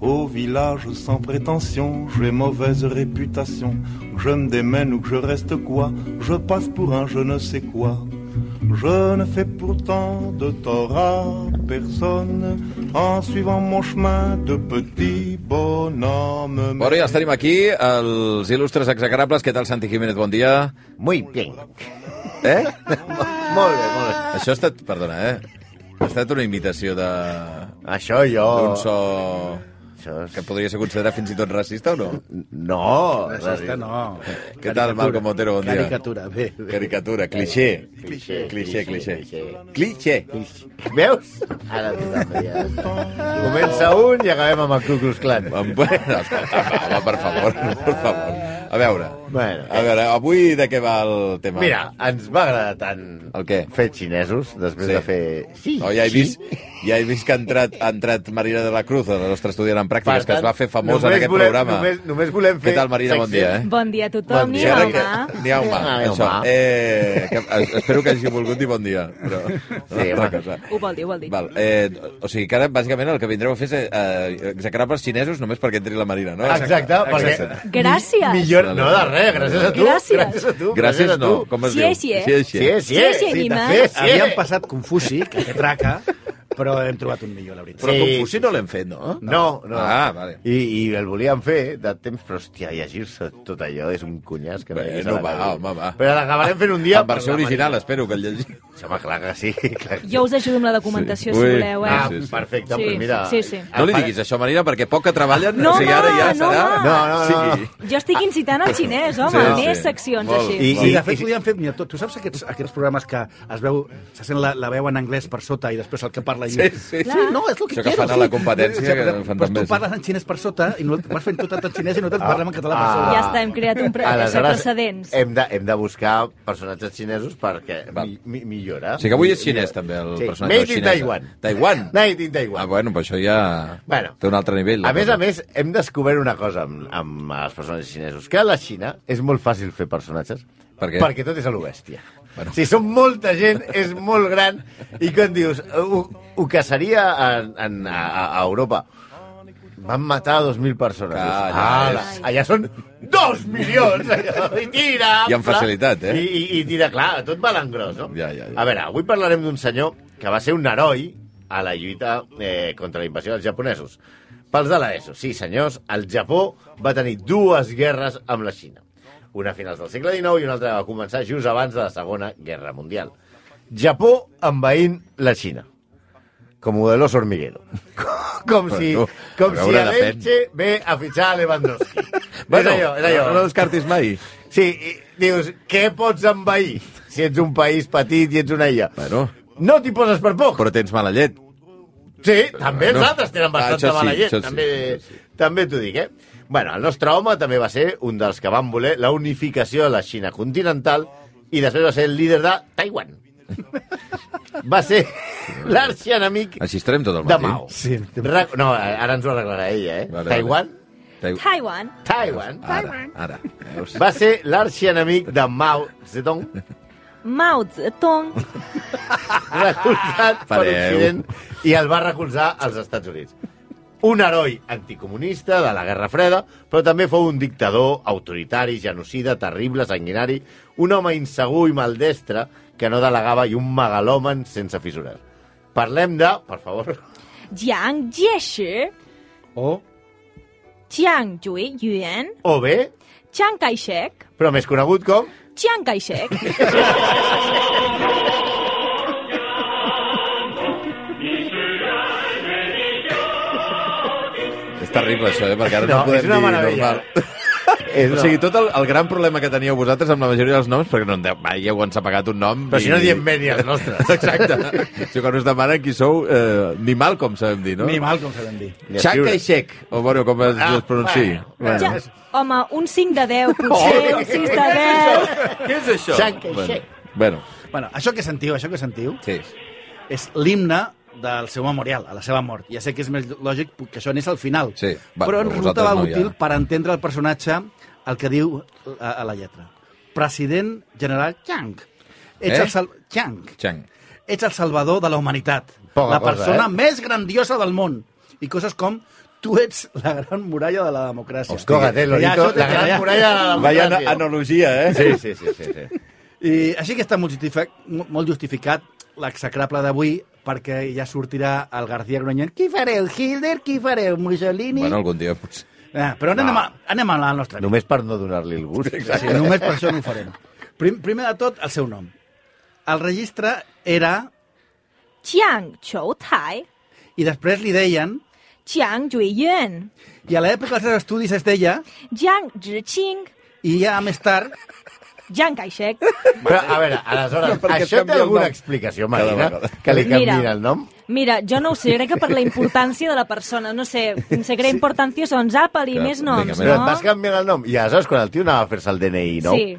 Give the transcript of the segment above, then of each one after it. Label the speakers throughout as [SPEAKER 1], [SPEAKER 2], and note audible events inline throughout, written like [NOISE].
[SPEAKER 1] Au village sans prétention, j'ai mauvaise réputation. Que je me démène ou que je reste quoi, je passe pour un je ne sais quoi. Je ne fais pourtant de tort à personne en suivant mon chemin de petit bonhomme.
[SPEAKER 2] Bueno, ja els tenim aquí, els il·lustres execrables. Què tal, Santi Jiménez? Bon dia.
[SPEAKER 3] Muy bien. [LAUGHS]
[SPEAKER 2] Eh?
[SPEAKER 3] Molt bé, molt bé.
[SPEAKER 2] Això ha estat... Perdona, eh? Ha estat una imitació de...
[SPEAKER 3] Això jo...
[SPEAKER 2] d'un so
[SPEAKER 3] Això és...
[SPEAKER 2] que podria ser considerat fins i tot racista o no?
[SPEAKER 3] No,
[SPEAKER 4] Racista no.
[SPEAKER 2] Què tal, Malcom Otero? Bon dia.
[SPEAKER 4] Caricatura, bé. bé.
[SPEAKER 2] Caricatura, cliché. Cliché, cliché, cliché. Cliché.
[SPEAKER 3] Veus? Ara tothom ja està. Comença un i acabem amb el Ku Klux Klan.
[SPEAKER 2] Em- [LAUGHS] Bueno, escolta, home, per favor, per favor. A veure,
[SPEAKER 3] Bueno.
[SPEAKER 2] a veure, avui de què va el tema?
[SPEAKER 3] Mira, ens va agradar tant
[SPEAKER 2] El què?
[SPEAKER 3] fer xinesos després
[SPEAKER 2] Sí.
[SPEAKER 3] de fer... Sí,
[SPEAKER 2] No, ja he
[SPEAKER 3] sí.
[SPEAKER 2] vist, ja he vist que ha entrat, ha entrat Marina de la Cruz, la nostra estudiant en
[SPEAKER 3] Per
[SPEAKER 2] pràctiques, que es
[SPEAKER 3] tant,
[SPEAKER 2] va fer famosa en
[SPEAKER 3] només
[SPEAKER 2] aquest
[SPEAKER 3] volem,
[SPEAKER 2] programa.
[SPEAKER 3] Només, només volem fer...
[SPEAKER 2] Què tal, Marina? Bon dia, eh?
[SPEAKER 5] Bon dia a tothom,
[SPEAKER 3] Bon
[SPEAKER 5] bon
[SPEAKER 3] dia.
[SPEAKER 5] dia.
[SPEAKER 2] Ara
[SPEAKER 5] ni home.
[SPEAKER 2] que- Ni home,
[SPEAKER 3] Ni
[SPEAKER 2] això.
[SPEAKER 3] Ah, home.
[SPEAKER 2] Eh, que, es- espero que hagi volgut dir bon dia, però...
[SPEAKER 3] Sí,
[SPEAKER 2] una
[SPEAKER 3] home.
[SPEAKER 2] cosa.
[SPEAKER 5] Ho vol dir, ho vol dir.
[SPEAKER 2] Val, eh, o sigui que ara, bàsicament, el que vindreu a fer és eh, execrables xinesos només perquè entri la Marina, no?
[SPEAKER 3] Exacte, perquè...
[SPEAKER 5] Gràcies.
[SPEAKER 3] Millor... No, de res, gràcies a tu.
[SPEAKER 5] Gràcies.
[SPEAKER 3] Gràcies a tu.
[SPEAKER 2] Gràcies,
[SPEAKER 3] a tu.
[SPEAKER 2] no. Com es
[SPEAKER 5] Sí,
[SPEAKER 2] diu?
[SPEAKER 5] sí, eh?
[SPEAKER 2] Sí,
[SPEAKER 3] Sí, sí, sí,
[SPEAKER 5] Sí, sí,
[SPEAKER 3] sí, de
[SPEAKER 5] animal.
[SPEAKER 3] fet, sí.
[SPEAKER 4] Havíem passat Confuci, que té
[SPEAKER 3] [LAUGHS]
[SPEAKER 4] traca, però hem trobat un millor, la veritat.
[SPEAKER 2] Però
[SPEAKER 3] Sí.
[SPEAKER 2] Confuci no l'hem fet, no?
[SPEAKER 3] No, no.
[SPEAKER 2] Ah, vale.
[SPEAKER 3] I, I el volíem fer de temps, però, hòstia, llegir-se tot allò és un cunyàs que no
[SPEAKER 2] Bé,
[SPEAKER 3] veus
[SPEAKER 2] no
[SPEAKER 3] a la
[SPEAKER 2] va,
[SPEAKER 3] cara.
[SPEAKER 2] home, va.
[SPEAKER 3] Però l'acabarem fent un dia...
[SPEAKER 2] En versió
[SPEAKER 3] per la
[SPEAKER 2] original,
[SPEAKER 3] Marina.
[SPEAKER 2] espero que el llegi.
[SPEAKER 3] Sí, home, clar que sí. [LAUGHS] Clar. que
[SPEAKER 5] Jo us ajudo amb la documentació,
[SPEAKER 2] Sí.
[SPEAKER 5] si
[SPEAKER 2] Ui.
[SPEAKER 5] voleu, eh?
[SPEAKER 3] Ah,
[SPEAKER 2] Sí, sí, sí.
[SPEAKER 3] perfecte,
[SPEAKER 5] Sí,
[SPEAKER 3] pues mira...
[SPEAKER 5] sí, sí.
[SPEAKER 2] No li diguis això, Marina, perquè poc que treballen,
[SPEAKER 5] No,
[SPEAKER 2] o sigui, ara ja
[SPEAKER 5] home, no,
[SPEAKER 2] serà...
[SPEAKER 5] home.
[SPEAKER 3] No, no, no.
[SPEAKER 2] Sí.
[SPEAKER 5] Jo estic incitant al xinès, home,
[SPEAKER 2] Sí, sí.
[SPEAKER 5] més seccions
[SPEAKER 2] Molt.
[SPEAKER 5] així.
[SPEAKER 3] I,
[SPEAKER 4] Sí,
[SPEAKER 3] i,
[SPEAKER 4] de fet, podríem fer... Mira, tu, tu saps aquests, aquests programes que es veu, se sent la, la veu en anglès per sota i després el que parla... I...
[SPEAKER 2] Sí, sí.
[SPEAKER 4] sí, no, és el
[SPEAKER 2] Això
[SPEAKER 4] que
[SPEAKER 2] que
[SPEAKER 4] quiero,
[SPEAKER 2] fan a
[SPEAKER 4] sí.
[SPEAKER 2] la competència, que
[SPEAKER 4] però-
[SPEAKER 2] fan
[SPEAKER 4] però
[SPEAKER 2] també,
[SPEAKER 4] tu
[SPEAKER 2] sí.
[SPEAKER 4] parles en xinès per sota i no, vas fent tot en xinès i nosaltres parlem en català per
[SPEAKER 3] Ah.
[SPEAKER 4] sobre.
[SPEAKER 5] Ja està, hem creat un pre
[SPEAKER 3] Aleshores,
[SPEAKER 5] precedents.
[SPEAKER 2] eh,
[SPEAKER 3] hem de, hem de buscar personatges xinesos perquè
[SPEAKER 2] Val.
[SPEAKER 3] mi, mi, millora.
[SPEAKER 2] O sigui que avui és xinès, també, el
[SPEAKER 3] Sí,
[SPEAKER 2] personatge
[SPEAKER 3] Made in
[SPEAKER 2] xinès.
[SPEAKER 3] Taiwan.
[SPEAKER 2] Taiwan?
[SPEAKER 3] Made in
[SPEAKER 2] Ah,
[SPEAKER 3] Taiwan.
[SPEAKER 2] bueno, però això ja
[SPEAKER 3] Bueno.
[SPEAKER 2] té un altre nivell. la
[SPEAKER 3] A més
[SPEAKER 2] cosa.
[SPEAKER 3] a més, hem descobert una cosa amb, amb els personatges xinesos, que a la Xina és molt fàcil fer personatges,
[SPEAKER 2] Per què?
[SPEAKER 3] perquè tot és a lo bèstia.
[SPEAKER 2] Bueno.
[SPEAKER 3] Bueno. Si són molta gent, és molt gran, i quan dius, ho, ho caçaria en, en, a, a Europa, van matar 2.000 persones.
[SPEAKER 2] Clar,
[SPEAKER 3] Dius,
[SPEAKER 2] allà
[SPEAKER 3] "Ala,
[SPEAKER 2] Ah, és-
[SPEAKER 3] allà són 2 milions! allò, I tira!
[SPEAKER 2] I amb
[SPEAKER 3] clar,
[SPEAKER 2] facilitat, eh?
[SPEAKER 3] I, i, i tira, clar, tot va a l'engròs, no?
[SPEAKER 2] Ja, ja, ja.
[SPEAKER 3] A veure, avui parlarem d'un senyor que va ser un heroi a la lluita eh, contra la invasió dels japonesos. Pels de l'ESO, sí senyors, el Japó va tenir dues guerres amb la Xina. Una a finals del segle XIX i una altra va començar just abans de la Segona Guerra Mundial. Japó envaint la Xina. Com de los hormiguero. [LAUGHS] Com si,
[SPEAKER 2] Bueno,
[SPEAKER 3] com
[SPEAKER 2] a
[SPEAKER 3] si
[SPEAKER 2] veure,
[SPEAKER 3] a
[SPEAKER 2] depèn.
[SPEAKER 3] Leche ve a fitxar a Lewandowski.
[SPEAKER 2] [LAUGHS] Bueno,
[SPEAKER 3] és allò, és allò.
[SPEAKER 2] No descartis mai.
[SPEAKER 3] Sí, i dius, què pots envair si ets un país petit i ets una illa?
[SPEAKER 2] Bueno,
[SPEAKER 3] No t'hi poses per poc.
[SPEAKER 2] però tens mala llet.
[SPEAKER 3] Sí, també els
[SPEAKER 2] No.
[SPEAKER 3] altres tenen bastanta
[SPEAKER 2] Ah, això sí,
[SPEAKER 3] mala llet,
[SPEAKER 2] això sí,
[SPEAKER 3] també,
[SPEAKER 2] això sí.
[SPEAKER 3] també t'ho dic, eh? Bueno, el nostre home també va ser un dels que van voler la unificació de la Xina continental i després va ser el líder de Taiwan. Va ser l'arxienemic
[SPEAKER 2] Així estarem tot el
[SPEAKER 3] de
[SPEAKER 2] matí.
[SPEAKER 3] Mao.
[SPEAKER 4] Sí.
[SPEAKER 3] Ra- No, ara ens ho arreglarà ella, eh?
[SPEAKER 2] Vale, vale.
[SPEAKER 3] Taiwan?
[SPEAKER 2] Tai-
[SPEAKER 5] Taiwan.
[SPEAKER 3] Taiwan.
[SPEAKER 2] Ara, ara. Veus?
[SPEAKER 3] Va ser l'arxienemic de Mao Zedong,
[SPEAKER 5] Mao Zedong.
[SPEAKER 3] recolzat per
[SPEAKER 2] Pareu.
[SPEAKER 3] Occident i el va recolzar als Estats Units. Un heroi anticomunista de la Guerra Freda, però també fou un dictador autoritari, genocida, terrible, sanguinari, un home insegur i maldestre que no delegava i un megalomen sense fissures. Parlem de, per favor,
[SPEAKER 5] Jiang Jieshi.
[SPEAKER 4] O
[SPEAKER 5] Jiang Jui Yuan.
[SPEAKER 3] o bé,
[SPEAKER 5] Chiang Kai-shek.
[SPEAKER 3] però més conegut com...
[SPEAKER 5] Chiang Kai-shek.
[SPEAKER 2] És terrible, això, eh? Perquè ara no,
[SPEAKER 3] No, és
[SPEAKER 2] podem
[SPEAKER 3] una
[SPEAKER 2] dir
[SPEAKER 3] meravella.
[SPEAKER 2] normal.
[SPEAKER 3] [LAUGHS] És
[SPEAKER 2] O sigui, tot el, el gran problema que teníeu vosaltres amb la majoria dels noms, perquè no en deu, mai heu ensapegat un nom...
[SPEAKER 3] Però si no diem bé ni els nostres.
[SPEAKER 2] [LAUGHS] Exacte. Si quan us demanen qui sou, eh, ni mal, com sabem dir, no?
[SPEAKER 4] ni mal, com sabem dir.
[SPEAKER 2] Xac i xec, o bueno, com es, es pronunciï.
[SPEAKER 3] Ah, Bueno.
[SPEAKER 5] Ja, home, un 5 de
[SPEAKER 2] [LAUGHS]
[SPEAKER 5] 10, potser, un 6 de 10.
[SPEAKER 2] Què és això?
[SPEAKER 3] Xac i
[SPEAKER 2] Bueno,
[SPEAKER 3] xec.
[SPEAKER 2] bueno,
[SPEAKER 4] Bueno, això que sentiu, això que sentiu,
[SPEAKER 2] sí.
[SPEAKER 4] és l'himne del seu memorial, a la seva mort. Ja sé que és més lògic que això anés al final,
[SPEAKER 2] Sí, va,
[SPEAKER 4] però
[SPEAKER 2] però
[SPEAKER 4] ens
[SPEAKER 2] vosaltres
[SPEAKER 4] resultava
[SPEAKER 2] no, ja.
[SPEAKER 4] útil per entendre el personatge el que diu a, a la lletra. President general Chiang. Ets,
[SPEAKER 2] Eh?
[SPEAKER 4] el sal... Chiang.
[SPEAKER 2] Xang.
[SPEAKER 4] Ets el salvador de la humanitat.
[SPEAKER 3] Poca
[SPEAKER 4] la
[SPEAKER 3] cosa,
[SPEAKER 4] persona
[SPEAKER 3] eh?
[SPEAKER 4] més grandiosa del món. I coses com tu ets la gran muralla de la democràcia.
[SPEAKER 3] [LAUGHS] Hòstia, Cógatelo,
[SPEAKER 4] Ja,
[SPEAKER 3] Lito,
[SPEAKER 4] això
[SPEAKER 3] la
[SPEAKER 4] ja.
[SPEAKER 3] gran muralla de la
[SPEAKER 2] Vaya ana-
[SPEAKER 3] democràcia.
[SPEAKER 2] analogia,
[SPEAKER 1] hein?
[SPEAKER 2] eh?
[SPEAKER 3] Sí, sí, sí, sí, sí.
[SPEAKER 4] I així que està molt justificat, molt justificat l'execrable d'avui perquè ja sortirà el García Grunyen. Qui fareu, Hitler? Qui fareu, Mussolini?
[SPEAKER 2] Bueno, algun dia potser.
[SPEAKER 4] Ah, però anem,
[SPEAKER 3] No.
[SPEAKER 4] a, anem a la nostra vida.
[SPEAKER 3] Només per no donar-li el gust.
[SPEAKER 4] Sí, només per això no ho farem. Prim, primer de tot, el seu nom. El registre era,
[SPEAKER 5] Chiang Chou Tai,
[SPEAKER 4] i després li deien,
[SPEAKER 5] Chiang Jui Yun,
[SPEAKER 4] i a l'època dels seus estudis es deia,
[SPEAKER 5] Jiang Zhiqing,
[SPEAKER 4] i ja més tard,
[SPEAKER 5] Jiang Kai-shek.
[SPEAKER 3] Però, a veure, aleshores,
[SPEAKER 2] Però per què et
[SPEAKER 3] això té
[SPEAKER 2] canvia el
[SPEAKER 3] alguna
[SPEAKER 2] nom?
[SPEAKER 3] explicació,
[SPEAKER 2] Cada
[SPEAKER 3] Marina?
[SPEAKER 2] vegada.
[SPEAKER 3] Que li canviïn
[SPEAKER 5] Mira.
[SPEAKER 3] el nom?
[SPEAKER 5] Mira, jo no ho sé, crec que
[SPEAKER 2] [LAUGHS]
[SPEAKER 5] per la importància de la persona, no sé, se crea importància, són Zapal i
[SPEAKER 2] Clar,
[SPEAKER 5] més noms,
[SPEAKER 2] únicament.
[SPEAKER 3] Però et
[SPEAKER 5] no?
[SPEAKER 3] vas canviant el nom. I aleshores, quan el tio anava a fer-se el DNI, no?
[SPEAKER 5] Sí.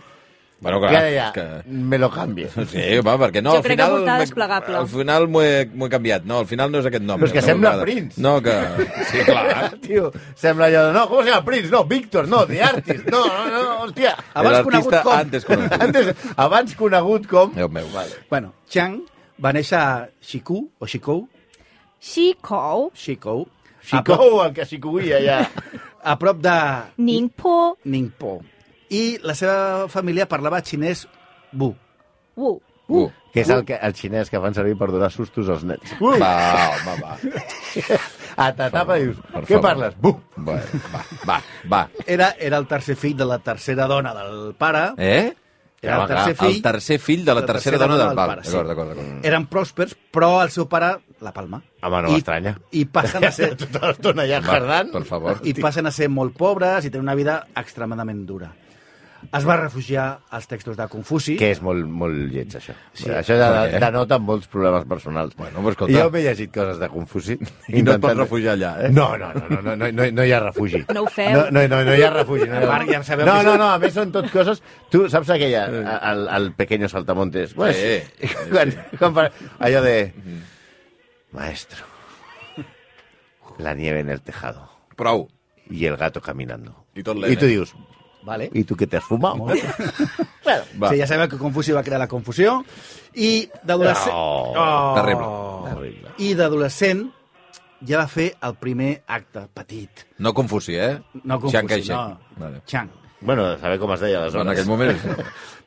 [SPEAKER 2] Bueno,
[SPEAKER 3] Ja,
[SPEAKER 2] clar,
[SPEAKER 3] ja, ja,
[SPEAKER 2] és que...
[SPEAKER 3] me lo canvie.
[SPEAKER 2] Sí, va, perquè no,
[SPEAKER 5] Jo
[SPEAKER 2] al
[SPEAKER 5] crec que
[SPEAKER 2] final...
[SPEAKER 5] portar
[SPEAKER 2] m'he-
[SPEAKER 5] desplegable.
[SPEAKER 2] Al final m'ho he, m'ho he canviat. No, al final no és aquest nom.
[SPEAKER 3] Però és que
[SPEAKER 2] No,
[SPEAKER 3] sembla
[SPEAKER 2] m'agrada.
[SPEAKER 3] Prince.
[SPEAKER 2] No, que... Sí, clar.
[SPEAKER 3] [LAUGHS] Tio, sembla allò de... No, com se llama? Prince, no, Víctor, no, The Artist, no, no, no, [LAUGHS] hòstia.
[SPEAKER 4] abans
[SPEAKER 2] Era
[SPEAKER 4] conegut
[SPEAKER 2] artista
[SPEAKER 4] com...
[SPEAKER 2] Antes conegut.
[SPEAKER 3] Antes, abans conegut com...
[SPEAKER 2] Déu meu. Vale.
[SPEAKER 4] Bueno, Chiang va néixer a Xikou, o Xikou,
[SPEAKER 5] Xi Kou,
[SPEAKER 4] Xikou, a prop,
[SPEAKER 3] Xicou, el que xicuïa ja.
[SPEAKER 4] a prop de
[SPEAKER 5] Ning Po,
[SPEAKER 4] Ningpo. I la seva família parlava xinès Bu.
[SPEAKER 5] Wu.
[SPEAKER 2] Uh.
[SPEAKER 3] [LAUGHS] Que és el, que, el xinès que fan servir per donar sustos als nens.
[SPEAKER 2] Va, home, va.
[SPEAKER 3] A t'atapa i dius,
[SPEAKER 2] Per
[SPEAKER 3] què
[SPEAKER 2] favor.
[SPEAKER 3] parles? Buh!
[SPEAKER 2] Bueno, va, va, va.
[SPEAKER 4] Era, era el tercer fill de la tercera dona del pare.
[SPEAKER 2] Eh?
[SPEAKER 4] Era el tercer
[SPEAKER 2] el
[SPEAKER 4] fill.
[SPEAKER 2] tercer fill de la tercera dona del pare.
[SPEAKER 4] sí.
[SPEAKER 2] D'acord, d'acord, d'acord.
[SPEAKER 4] Eren pròspers, però el seu pare, la palma.
[SPEAKER 3] Home, no
[SPEAKER 4] I-
[SPEAKER 3] m'estranya.
[SPEAKER 4] I passen a
[SPEAKER 3] [LAUGHS]
[SPEAKER 4] ser...
[SPEAKER 3] Tota l'estona ja
[SPEAKER 2] Va,
[SPEAKER 3] jardant.
[SPEAKER 2] Per favor.
[SPEAKER 4] i passen a ser molt pobres i tenen una vida extremadament dura. Es va refugiar als textos de Confuci.
[SPEAKER 3] Que és molt, molt lleig, això.
[SPEAKER 4] Sí.
[SPEAKER 3] Sí. Això ja
[SPEAKER 2] Per què?
[SPEAKER 3] denota molts problemes personals.
[SPEAKER 2] Bueno, però escolta.
[SPEAKER 3] Jo m'he llegit coses de Confuci.
[SPEAKER 2] I no et pots refugiar allà, eh?
[SPEAKER 3] No, no, no, no, no, no, no, no hi ha refugi.
[SPEAKER 5] No ho feu.
[SPEAKER 3] No, no, no, no hi ha refugi. No, hi ha...
[SPEAKER 4] A part, ja sabeu
[SPEAKER 3] no,
[SPEAKER 4] que-
[SPEAKER 3] no, no, a més són tot coses... Tu saps aquella, el, el pequeño saltamontes? Bueno,
[SPEAKER 2] Sí.
[SPEAKER 3] [LAUGHS] Quan, quan fa... Allò de... Maestro, la nieve en el tejado
[SPEAKER 2] Prou.
[SPEAKER 3] y el gato caminando.
[SPEAKER 2] I tot
[SPEAKER 3] I
[SPEAKER 2] l'N.
[SPEAKER 3] tu dius,
[SPEAKER 4] Vale?
[SPEAKER 3] ¿y tú qué te has fumado? bueno,
[SPEAKER 2] Va.
[SPEAKER 4] Sí, ja sabeu que Confuci va crear la confusió. I d'adolescent... Oh.
[SPEAKER 3] No.
[SPEAKER 2] Terrible.
[SPEAKER 3] Terrible.
[SPEAKER 4] I d'adolescent ja va fer el primer acte petit.
[SPEAKER 2] No confusi, eh?
[SPEAKER 4] No Confuci,
[SPEAKER 2] Chiang Kai-shek.
[SPEAKER 4] no.
[SPEAKER 2] Vale. Doncs
[SPEAKER 4] Chiang.
[SPEAKER 3] Bueno, a saber com es deia
[SPEAKER 2] En
[SPEAKER 3] aleshores.
[SPEAKER 2] aquell moment...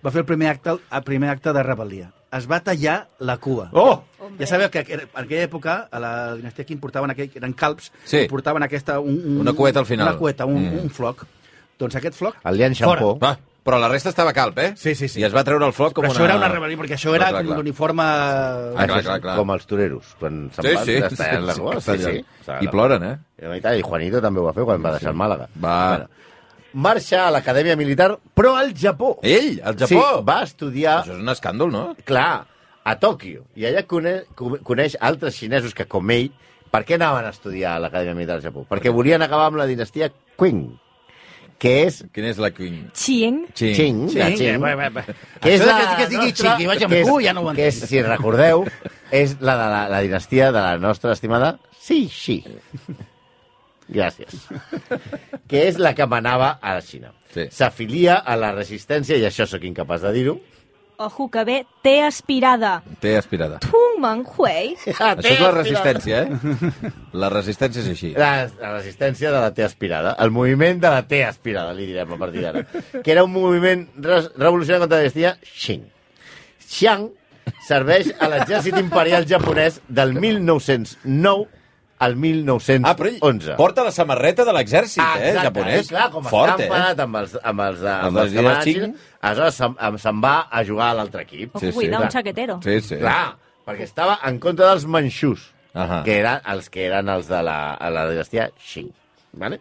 [SPEAKER 4] Va fer el primer acte, el primer acte de rebel·lia. Es va tallar la cua.
[SPEAKER 3] Oh!
[SPEAKER 4] Ja sabeu que en aquella època, a la dinastia Qin portaven aquell, eren calps,
[SPEAKER 2] Sí.
[SPEAKER 4] i portaven aquesta... Un, un,
[SPEAKER 2] Una cueta al final.
[SPEAKER 4] Una cueta, un,
[SPEAKER 2] Mm.
[SPEAKER 4] mm. un floc. Doncs aquest floc...
[SPEAKER 3] El Lian Shampoo.
[SPEAKER 2] Va, però la resta estava calp, eh?
[SPEAKER 4] Sí, sí, sí.
[SPEAKER 2] I es va treure el floc com
[SPEAKER 4] Però
[SPEAKER 2] una...
[SPEAKER 4] això era una rebel·lió, perquè això era
[SPEAKER 2] No, clar,
[SPEAKER 4] com
[SPEAKER 2] clar.
[SPEAKER 4] l'uniforme...
[SPEAKER 2] Ah, clar, clar, clar.
[SPEAKER 3] Com els toreros, quan se'n
[SPEAKER 2] Sí,
[SPEAKER 3] van,
[SPEAKER 2] sí.
[SPEAKER 3] es tallen les goles. Sí, sí.
[SPEAKER 2] I ploren, eh?
[SPEAKER 3] I tal, I Juanito també ho va fer quan va deixar el Màlaga.
[SPEAKER 2] Va.
[SPEAKER 3] Marxa a l'acadèmia militar, però al Japó.
[SPEAKER 2] Ell, Eh, al Japó!
[SPEAKER 3] Sí, va estudiar,
[SPEAKER 2] Això és un escàndol, no?
[SPEAKER 3] clar, a Tòquio. I allà coneix, coneix altres xinesos que, com ell, per què anaven a estudiar a l'acadèmia militar al Japó? Perquè volien acabar amb la dinastia Qing, que és
[SPEAKER 2] Quin és la Queen?
[SPEAKER 5] Qing,
[SPEAKER 2] Xing.
[SPEAKER 3] Xing,
[SPEAKER 4] Sí,
[SPEAKER 3] la
[SPEAKER 4] que,
[SPEAKER 3] Qing.
[SPEAKER 4] eh, va, va, va.
[SPEAKER 3] que és
[SPEAKER 4] Això
[SPEAKER 3] la
[SPEAKER 4] de que, que es digui
[SPEAKER 3] nostra-
[SPEAKER 4] xiqui, vaja amb
[SPEAKER 3] que és-
[SPEAKER 4] cul, ja no ho
[SPEAKER 3] que és,
[SPEAKER 4] entenc.
[SPEAKER 3] si recordeu, és la de la, la dinastia de la nostra estimada Sí, sí. Gràcies. Que és la que manava a la Xina.
[SPEAKER 2] Sí.
[SPEAKER 3] S'afilia a la resistència, i això sóc incapaç de dir-ho.
[SPEAKER 5] ojo que bé, té aspirada.
[SPEAKER 2] Té aspirada.
[SPEAKER 5] Tung Meng Hui,
[SPEAKER 2] Això és la resistència, eh? La resistència és així.
[SPEAKER 3] La, la resistència de la T aspirada. El moviment de la T aspirada, li direm a partir d'ara. Que era un moviment res- revolucionari contra la dinastia Qing. Xiang serveix a l'exèrcit imperial japonès del 1909 al 1911.
[SPEAKER 2] Ah, però ell porta la samarreta de l'exèrcit, eh,
[SPEAKER 3] Exacte,
[SPEAKER 2] japonès.
[SPEAKER 3] i clar, com
[SPEAKER 2] Fort,
[SPEAKER 3] està
[SPEAKER 2] eh?
[SPEAKER 3] emparat amb els, amb els, de,
[SPEAKER 2] Amb
[SPEAKER 3] amb els
[SPEAKER 2] els
[SPEAKER 3] que van a
[SPEAKER 2] Xing.
[SPEAKER 3] Xina, aleshores se'n se'n va a jugar a l'altre equip.
[SPEAKER 5] ojo,
[SPEAKER 2] Sí, sí.
[SPEAKER 5] cuidar
[SPEAKER 2] Clar.
[SPEAKER 5] un xaquetero.
[SPEAKER 2] Sí, sí.
[SPEAKER 3] Clar, perquè estava en contra dels manxús,
[SPEAKER 2] Ahà.
[SPEAKER 3] que eren els que eren els de la, a la dinastia Xing. Vale?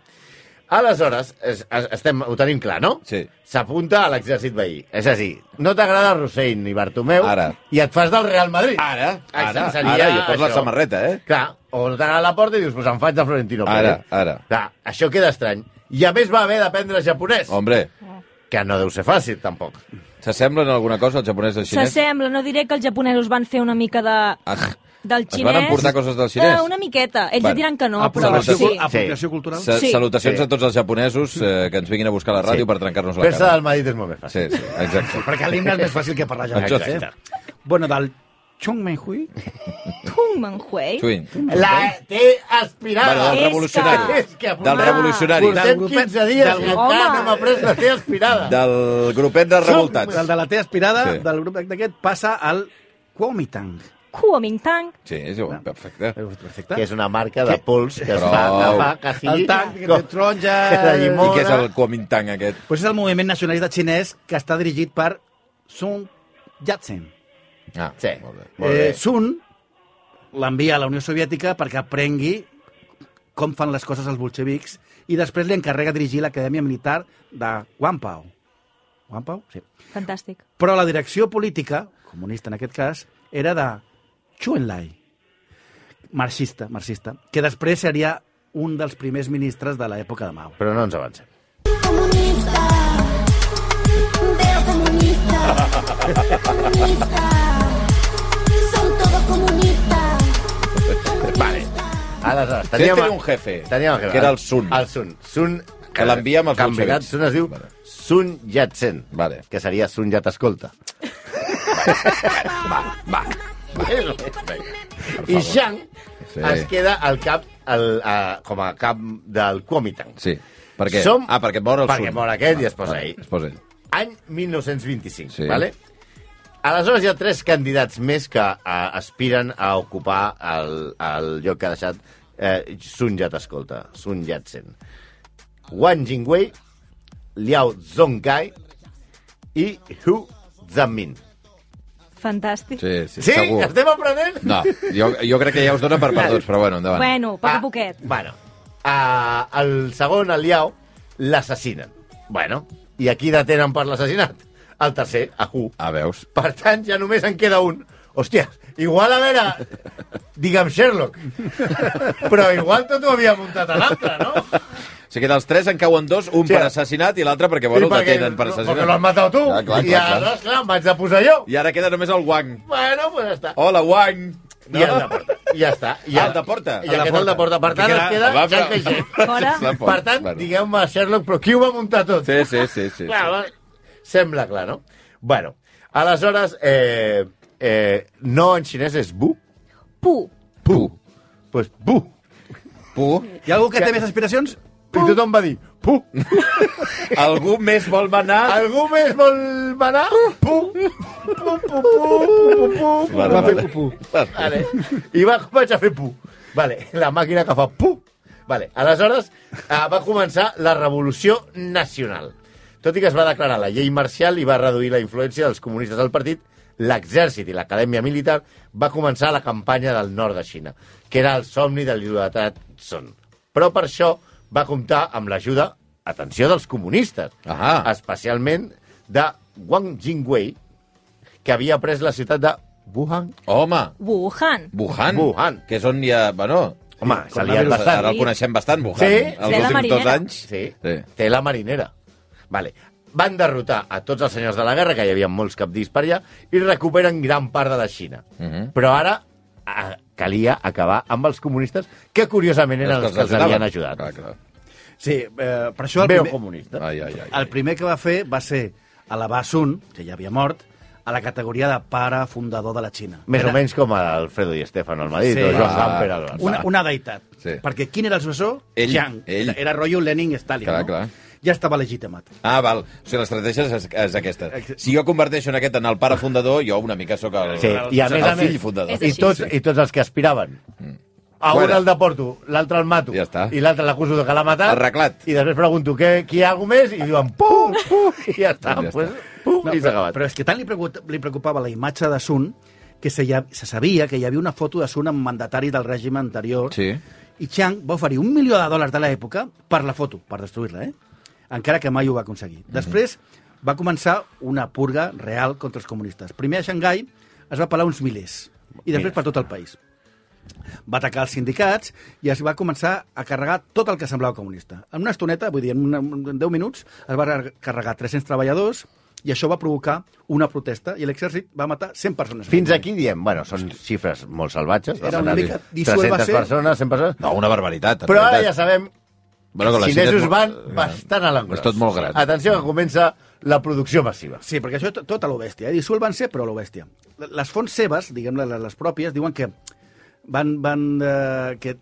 [SPEAKER 3] Aleshores, es, es, estem, ho tenim clar, no?
[SPEAKER 2] Sí.
[SPEAKER 3] S'apunta a l'exèrcit veí. És a dir, no t'agrada Rossell ni Bartomeu
[SPEAKER 2] Ara.
[SPEAKER 3] i et fas del Real Madrid.
[SPEAKER 2] Ara,
[SPEAKER 3] Ah,
[SPEAKER 2] ara,
[SPEAKER 3] seria
[SPEAKER 2] ara, i et poses la
[SPEAKER 3] això.
[SPEAKER 2] samarreta, eh?
[SPEAKER 3] Clar, o no t'agrada la porta i dius, pues em faig de Florentino
[SPEAKER 2] Ara,
[SPEAKER 3] Pérez.
[SPEAKER 2] ara.
[SPEAKER 3] Clar, això queda estrany. I a més va haver d'aprendre japonès,
[SPEAKER 2] Hombre,
[SPEAKER 3] que no deu ser fàcil, tampoc.
[SPEAKER 2] s'assemblen en alguna cosa els japonesos i els xinès?
[SPEAKER 5] S'assembla, no diré que els japonesos van fer una mica de...
[SPEAKER 2] Ah,
[SPEAKER 5] del
[SPEAKER 2] Es
[SPEAKER 5] xinès.
[SPEAKER 2] van emportar coses del xinès?
[SPEAKER 5] Eh, una miqueta. Ells
[SPEAKER 2] Bueno,
[SPEAKER 5] et diran que no, però
[SPEAKER 4] Apropiació,
[SPEAKER 5] sí.
[SPEAKER 4] cul- apropiació cultural.
[SPEAKER 2] sa-
[SPEAKER 5] Sí.
[SPEAKER 2] Salutacions
[SPEAKER 3] Sí.
[SPEAKER 2] a tots els japonesos eh, que ens vinguin a buscar a la ràdio per trencar-nos la
[SPEAKER 3] Fer-se
[SPEAKER 2] cara.
[SPEAKER 3] del Madrid és molt més fàcil.
[SPEAKER 2] Sí, sí, exacte.
[SPEAKER 4] Perquè l'himne és més fàcil que parlar
[SPEAKER 2] Exacte.
[SPEAKER 4] japonès, eh? Bueno, del Chung Menghui.
[SPEAKER 5] Tung Menghui.
[SPEAKER 2] Twin.
[SPEAKER 3] La té aspirada.
[SPEAKER 2] Bueno, del
[SPEAKER 5] És
[SPEAKER 2] revolucionari.
[SPEAKER 5] que-
[SPEAKER 3] Ah, És que,
[SPEAKER 2] Del
[SPEAKER 5] Ah.
[SPEAKER 2] revolucionari.
[SPEAKER 4] Del
[SPEAKER 3] Portem
[SPEAKER 4] grupet-
[SPEAKER 3] 15 dies
[SPEAKER 4] del
[SPEAKER 3] i
[SPEAKER 5] grupet-
[SPEAKER 3] encara
[SPEAKER 5] Home.
[SPEAKER 3] no m'ha pres la té aspirada.
[SPEAKER 2] Del grupet dels revoltats.
[SPEAKER 4] Del de la T aspirada,
[SPEAKER 2] Sí.
[SPEAKER 4] sí. del grup d'aquest, passa al Kuomintang.
[SPEAKER 5] Kuomintang.
[SPEAKER 2] Sí, és igual, perfecte.
[SPEAKER 4] Perfecte.
[SPEAKER 3] Que és una marca de pols que es
[SPEAKER 2] Prou.
[SPEAKER 3] fa que fa que sigui...
[SPEAKER 4] El tanc de
[SPEAKER 3] com-
[SPEAKER 4] taronja...
[SPEAKER 3] de
[SPEAKER 2] I
[SPEAKER 3] llimona.
[SPEAKER 2] què és el Kuomintang aquest?
[SPEAKER 4] Pues és el moviment nacionalista xinès que està dirigit per Sun Yat-sen.
[SPEAKER 2] Ah,
[SPEAKER 3] Sí.
[SPEAKER 2] molt bé.
[SPEAKER 3] Molt bé.
[SPEAKER 4] Eh, Sun l'envia a la Unió Soviètica perquè aprengui com fan les coses els bolxevics i després li encarrega dirigir l'Acadèmia Militar de Wampau. Wampau? Sí.
[SPEAKER 5] Fantàstic.
[SPEAKER 4] Però la direcció política, comunista en aquest cas, era de Chu Enlai, marxista, marxista, que després seria un dels primers ministres de l'època de Mao.
[SPEAKER 3] Però no ens avancem.
[SPEAKER 6] comunista. Veo comunista. Comunista. Son todos comunistas.
[SPEAKER 3] Vale. Aleshores,
[SPEAKER 2] Teníem, tenia un jefe,
[SPEAKER 3] Teníem el jefe.
[SPEAKER 2] que era el Sun.
[SPEAKER 3] El Sun. Sun
[SPEAKER 2] Que l'enviem als
[SPEAKER 3] que en veritat
[SPEAKER 2] bolxevics.
[SPEAKER 3] Sun es diu
[SPEAKER 2] Vale.
[SPEAKER 3] Sun Yat-sen.
[SPEAKER 2] Vale.
[SPEAKER 3] Que seria Sun Yat Escolta. [LAUGHS]
[SPEAKER 2] Va.
[SPEAKER 3] I Shang
[SPEAKER 2] Sí.
[SPEAKER 3] es queda al cap, al, a, com a cap del Kuomintang.
[SPEAKER 2] Sí. Per què?
[SPEAKER 3] Som-
[SPEAKER 2] Ah, perquè mor el
[SPEAKER 3] perquè
[SPEAKER 2] Sun.
[SPEAKER 3] mor aquest i
[SPEAKER 2] Va,
[SPEAKER 3] es posa
[SPEAKER 2] va,
[SPEAKER 3] ell.
[SPEAKER 2] Es posa ell.
[SPEAKER 3] Any 1925,
[SPEAKER 2] Sí.
[SPEAKER 3] sí. vale? Aleshores hi ha tres candidats més que eh, aspiren a ocupar el, el lloc que ha deixat eh, Sun Yat Escolta, Sun Yat-sen. Wang Jingwei, Liao Zongkai i Hu Zamin.
[SPEAKER 5] Fantàstic.
[SPEAKER 2] Sí, sí,
[SPEAKER 3] Sí?
[SPEAKER 2] segur.
[SPEAKER 3] Estem aprenent?
[SPEAKER 2] No, jo, jo crec que ja us dona
[SPEAKER 3] [LAUGHS]
[SPEAKER 2] per perduts, però bueno, endavant.
[SPEAKER 5] Bueno, poc
[SPEAKER 3] Ah,
[SPEAKER 5] a poquet.
[SPEAKER 3] Bueno, a, el segon, el Liao, l'assassinen. Bueno, i aquí detenen per l'assassinat. El tercer, a Hu.
[SPEAKER 2] Ah, veus?
[SPEAKER 3] Per tant, ja només en queda un. Hòstia, igual a veure... Digue'm Sherlock. Però igual tot ho havia muntat a l'altre, no?
[SPEAKER 2] O sigui, dels tres en cauen dos, un
[SPEAKER 3] Sí.
[SPEAKER 2] per assassinat i l'altre perquè, bueno,
[SPEAKER 3] Sí,
[SPEAKER 2] el detenen per
[SPEAKER 3] no,
[SPEAKER 2] assassinat.
[SPEAKER 3] Perquè l'has matat tu.
[SPEAKER 2] Ah, clar,
[SPEAKER 3] I
[SPEAKER 2] clar, clar.
[SPEAKER 3] aleshores, clar, m'haig de posar jo.
[SPEAKER 2] I ara queda només el Wang.
[SPEAKER 3] Bueno, pues ja està.
[SPEAKER 2] Hola, Wang!
[SPEAKER 3] I el de porta. I ja està. I
[SPEAKER 2] Oh, Ah, el de porta.
[SPEAKER 3] I aquest el de porta. Per tant, es queda
[SPEAKER 2] Va, però-
[SPEAKER 3] Jean
[SPEAKER 2] [LAUGHS]
[SPEAKER 3] Caixet.
[SPEAKER 5] Fora.
[SPEAKER 2] La porta,
[SPEAKER 3] Per tant,
[SPEAKER 2] bueno.
[SPEAKER 3] digueu-me Sherlock, però qui ho va muntar tot?
[SPEAKER 2] Sí, sí, sí. sí,
[SPEAKER 3] Clar, va- Sembla clar, no? Bueno, aleshores, eh, eh, no en xinès és bu,
[SPEAKER 5] Pu.
[SPEAKER 2] Pu.
[SPEAKER 3] doncs bu.
[SPEAKER 2] Pu.
[SPEAKER 4] Hi ha algú que té més aspiracions?
[SPEAKER 3] I tothom va dir, pu.
[SPEAKER 2] Algú més vol manar?
[SPEAKER 3] Algú més vol manar? Pu. Pu, pu, pu, pu, pu, pu.
[SPEAKER 2] Vale,
[SPEAKER 3] Va fer
[SPEAKER 2] vale.
[SPEAKER 3] pu, pu. Vale. I va, vaig a fer pu. Vale, la màquina que fa pu. Vale, aleshores eh, va començar la Revolució Nacional. Tot i que es va declarar la llei marcial i va reduir la influència dels comunistes al partit, l'exèrcit i l'acadèmia militar va començar la campanya del nord de Xina, que era el somni de l'il·ludatrat Son. Però per això va comptar amb l'ajuda, atenció, dels comunistes,
[SPEAKER 2] Ahà.
[SPEAKER 3] especialment de Wang Jingwei, que havia pres la ciutat de Wuhan.
[SPEAKER 2] Home,
[SPEAKER 5] Wuhan.
[SPEAKER 2] Wuhan.
[SPEAKER 3] Wuhan.
[SPEAKER 2] Que és on hi ha... Bueno,
[SPEAKER 3] Home,
[SPEAKER 2] Sí,
[SPEAKER 3] se li ha
[SPEAKER 2] coronavirus,
[SPEAKER 3] passat.
[SPEAKER 2] Ara el coneixem bastant, Wuhan.
[SPEAKER 3] Sí.
[SPEAKER 2] Els
[SPEAKER 5] Tela
[SPEAKER 2] últims dos
[SPEAKER 5] marinera.
[SPEAKER 2] anys.
[SPEAKER 3] Sí,
[SPEAKER 2] sí.
[SPEAKER 3] té la marinera. Vale. Van derrotar a tots els senyors de la guerra, que hi havia molts capdis per allà, i recuperen gran part de la Xina.
[SPEAKER 2] Mhm.
[SPEAKER 3] Però ara a, calia acabar amb els comunistes, que curiosament eren els que els havien ajudat.
[SPEAKER 2] Clar, Ah, clar.
[SPEAKER 4] Sí, eh, per això el
[SPEAKER 3] Veu
[SPEAKER 4] primer,
[SPEAKER 3] comunista.
[SPEAKER 2] Ai, ai, ai.
[SPEAKER 4] el primer que va fer va ser elevar Sun, que ja havia mort, a la categoria de pare fundador de la Xina.
[SPEAKER 3] Més
[SPEAKER 4] Era
[SPEAKER 3] o menys com Alfredo i Estefano al Madrid,
[SPEAKER 4] Sí.
[SPEAKER 3] o Joan doncs.
[SPEAKER 2] Va.
[SPEAKER 3] Gamper al Barça.
[SPEAKER 4] Una, una deïtat.
[SPEAKER 2] Sí.
[SPEAKER 4] Sí. Perquè quin era el successor?
[SPEAKER 2] Ell,
[SPEAKER 4] Jiang.
[SPEAKER 2] ell.
[SPEAKER 4] Era, era rotllo Lenin i Stalin.
[SPEAKER 2] Clar,
[SPEAKER 4] no?
[SPEAKER 2] clar.
[SPEAKER 4] Ja estava legitimat.
[SPEAKER 2] Ah, val. O sigui, l'estratègia és, és aquesta. Si jo converteixo en aquest en el pare fundador, jo una mica sóc el,
[SPEAKER 3] Sí, i a
[SPEAKER 2] el,
[SPEAKER 3] més a més,
[SPEAKER 2] fill fundador.
[SPEAKER 5] És
[SPEAKER 3] i
[SPEAKER 5] així.
[SPEAKER 3] tots, i tots els que aspiraven. A un
[SPEAKER 2] Fuera.
[SPEAKER 3] el deporto, l'altre el mato,
[SPEAKER 2] Ja està.
[SPEAKER 3] i l'altre l'acuso de que l'ha matat.
[SPEAKER 2] Arreglat.
[SPEAKER 3] I després pregunto, què, qui hi ha algú més? I diuen, pum, pum, i ja
[SPEAKER 2] [LAUGHS]
[SPEAKER 3] està.
[SPEAKER 2] Ja
[SPEAKER 3] Ja pues, Pum, no, i s'ha
[SPEAKER 4] però,
[SPEAKER 3] acabat.
[SPEAKER 4] però és que tant li, preocup, li preocupava la imatge de Sun que se, ja, se sabia que hi havia una foto de Sun amb mandatari del règim anterior
[SPEAKER 2] Sí.
[SPEAKER 4] i Chiang va oferir un milió de dòlars de l'època per la foto, per destruir-la, eh? encara que mai ho va aconseguir. Després va començar una purga real contra els comunistes. Primer a Xangai es va pelar uns milers i després per tot el país. Va atacar els sindicats i es va començar a carregar tot el que semblava comunista. En una estoneta, vull dir, en, una, en 10 minuts, es va carregar 300 treballadors i això va provocar una protesta i l'exèrcit va matar 100 persones.
[SPEAKER 3] Fins aquí diem, bueno, són xifres molt salvatges.
[SPEAKER 4] Era
[SPEAKER 3] demanar
[SPEAKER 4] una mica
[SPEAKER 3] 300
[SPEAKER 4] dissuelva-se.
[SPEAKER 3] persones, 100 persones.
[SPEAKER 2] No, una barbaritat. en
[SPEAKER 3] Però ara ja
[SPEAKER 2] realitat.
[SPEAKER 3] sabem
[SPEAKER 2] Bueno, que
[SPEAKER 3] els
[SPEAKER 2] la Xina és
[SPEAKER 3] xinesos
[SPEAKER 2] molt- eh,
[SPEAKER 3] van bastant a l'engròs.
[SPEAKER 2] És tot molt gran.
[SPEAKER 3] Atenció, que comença la producció massiva.
[SPEAKER 4] Sí, perquè això tot tot a lo bèstia. Eh? Dissolven-se, però a lo bèstia. Les fonts seves, diguem-ne, les, les pròpies, diuen que van, van, eh, que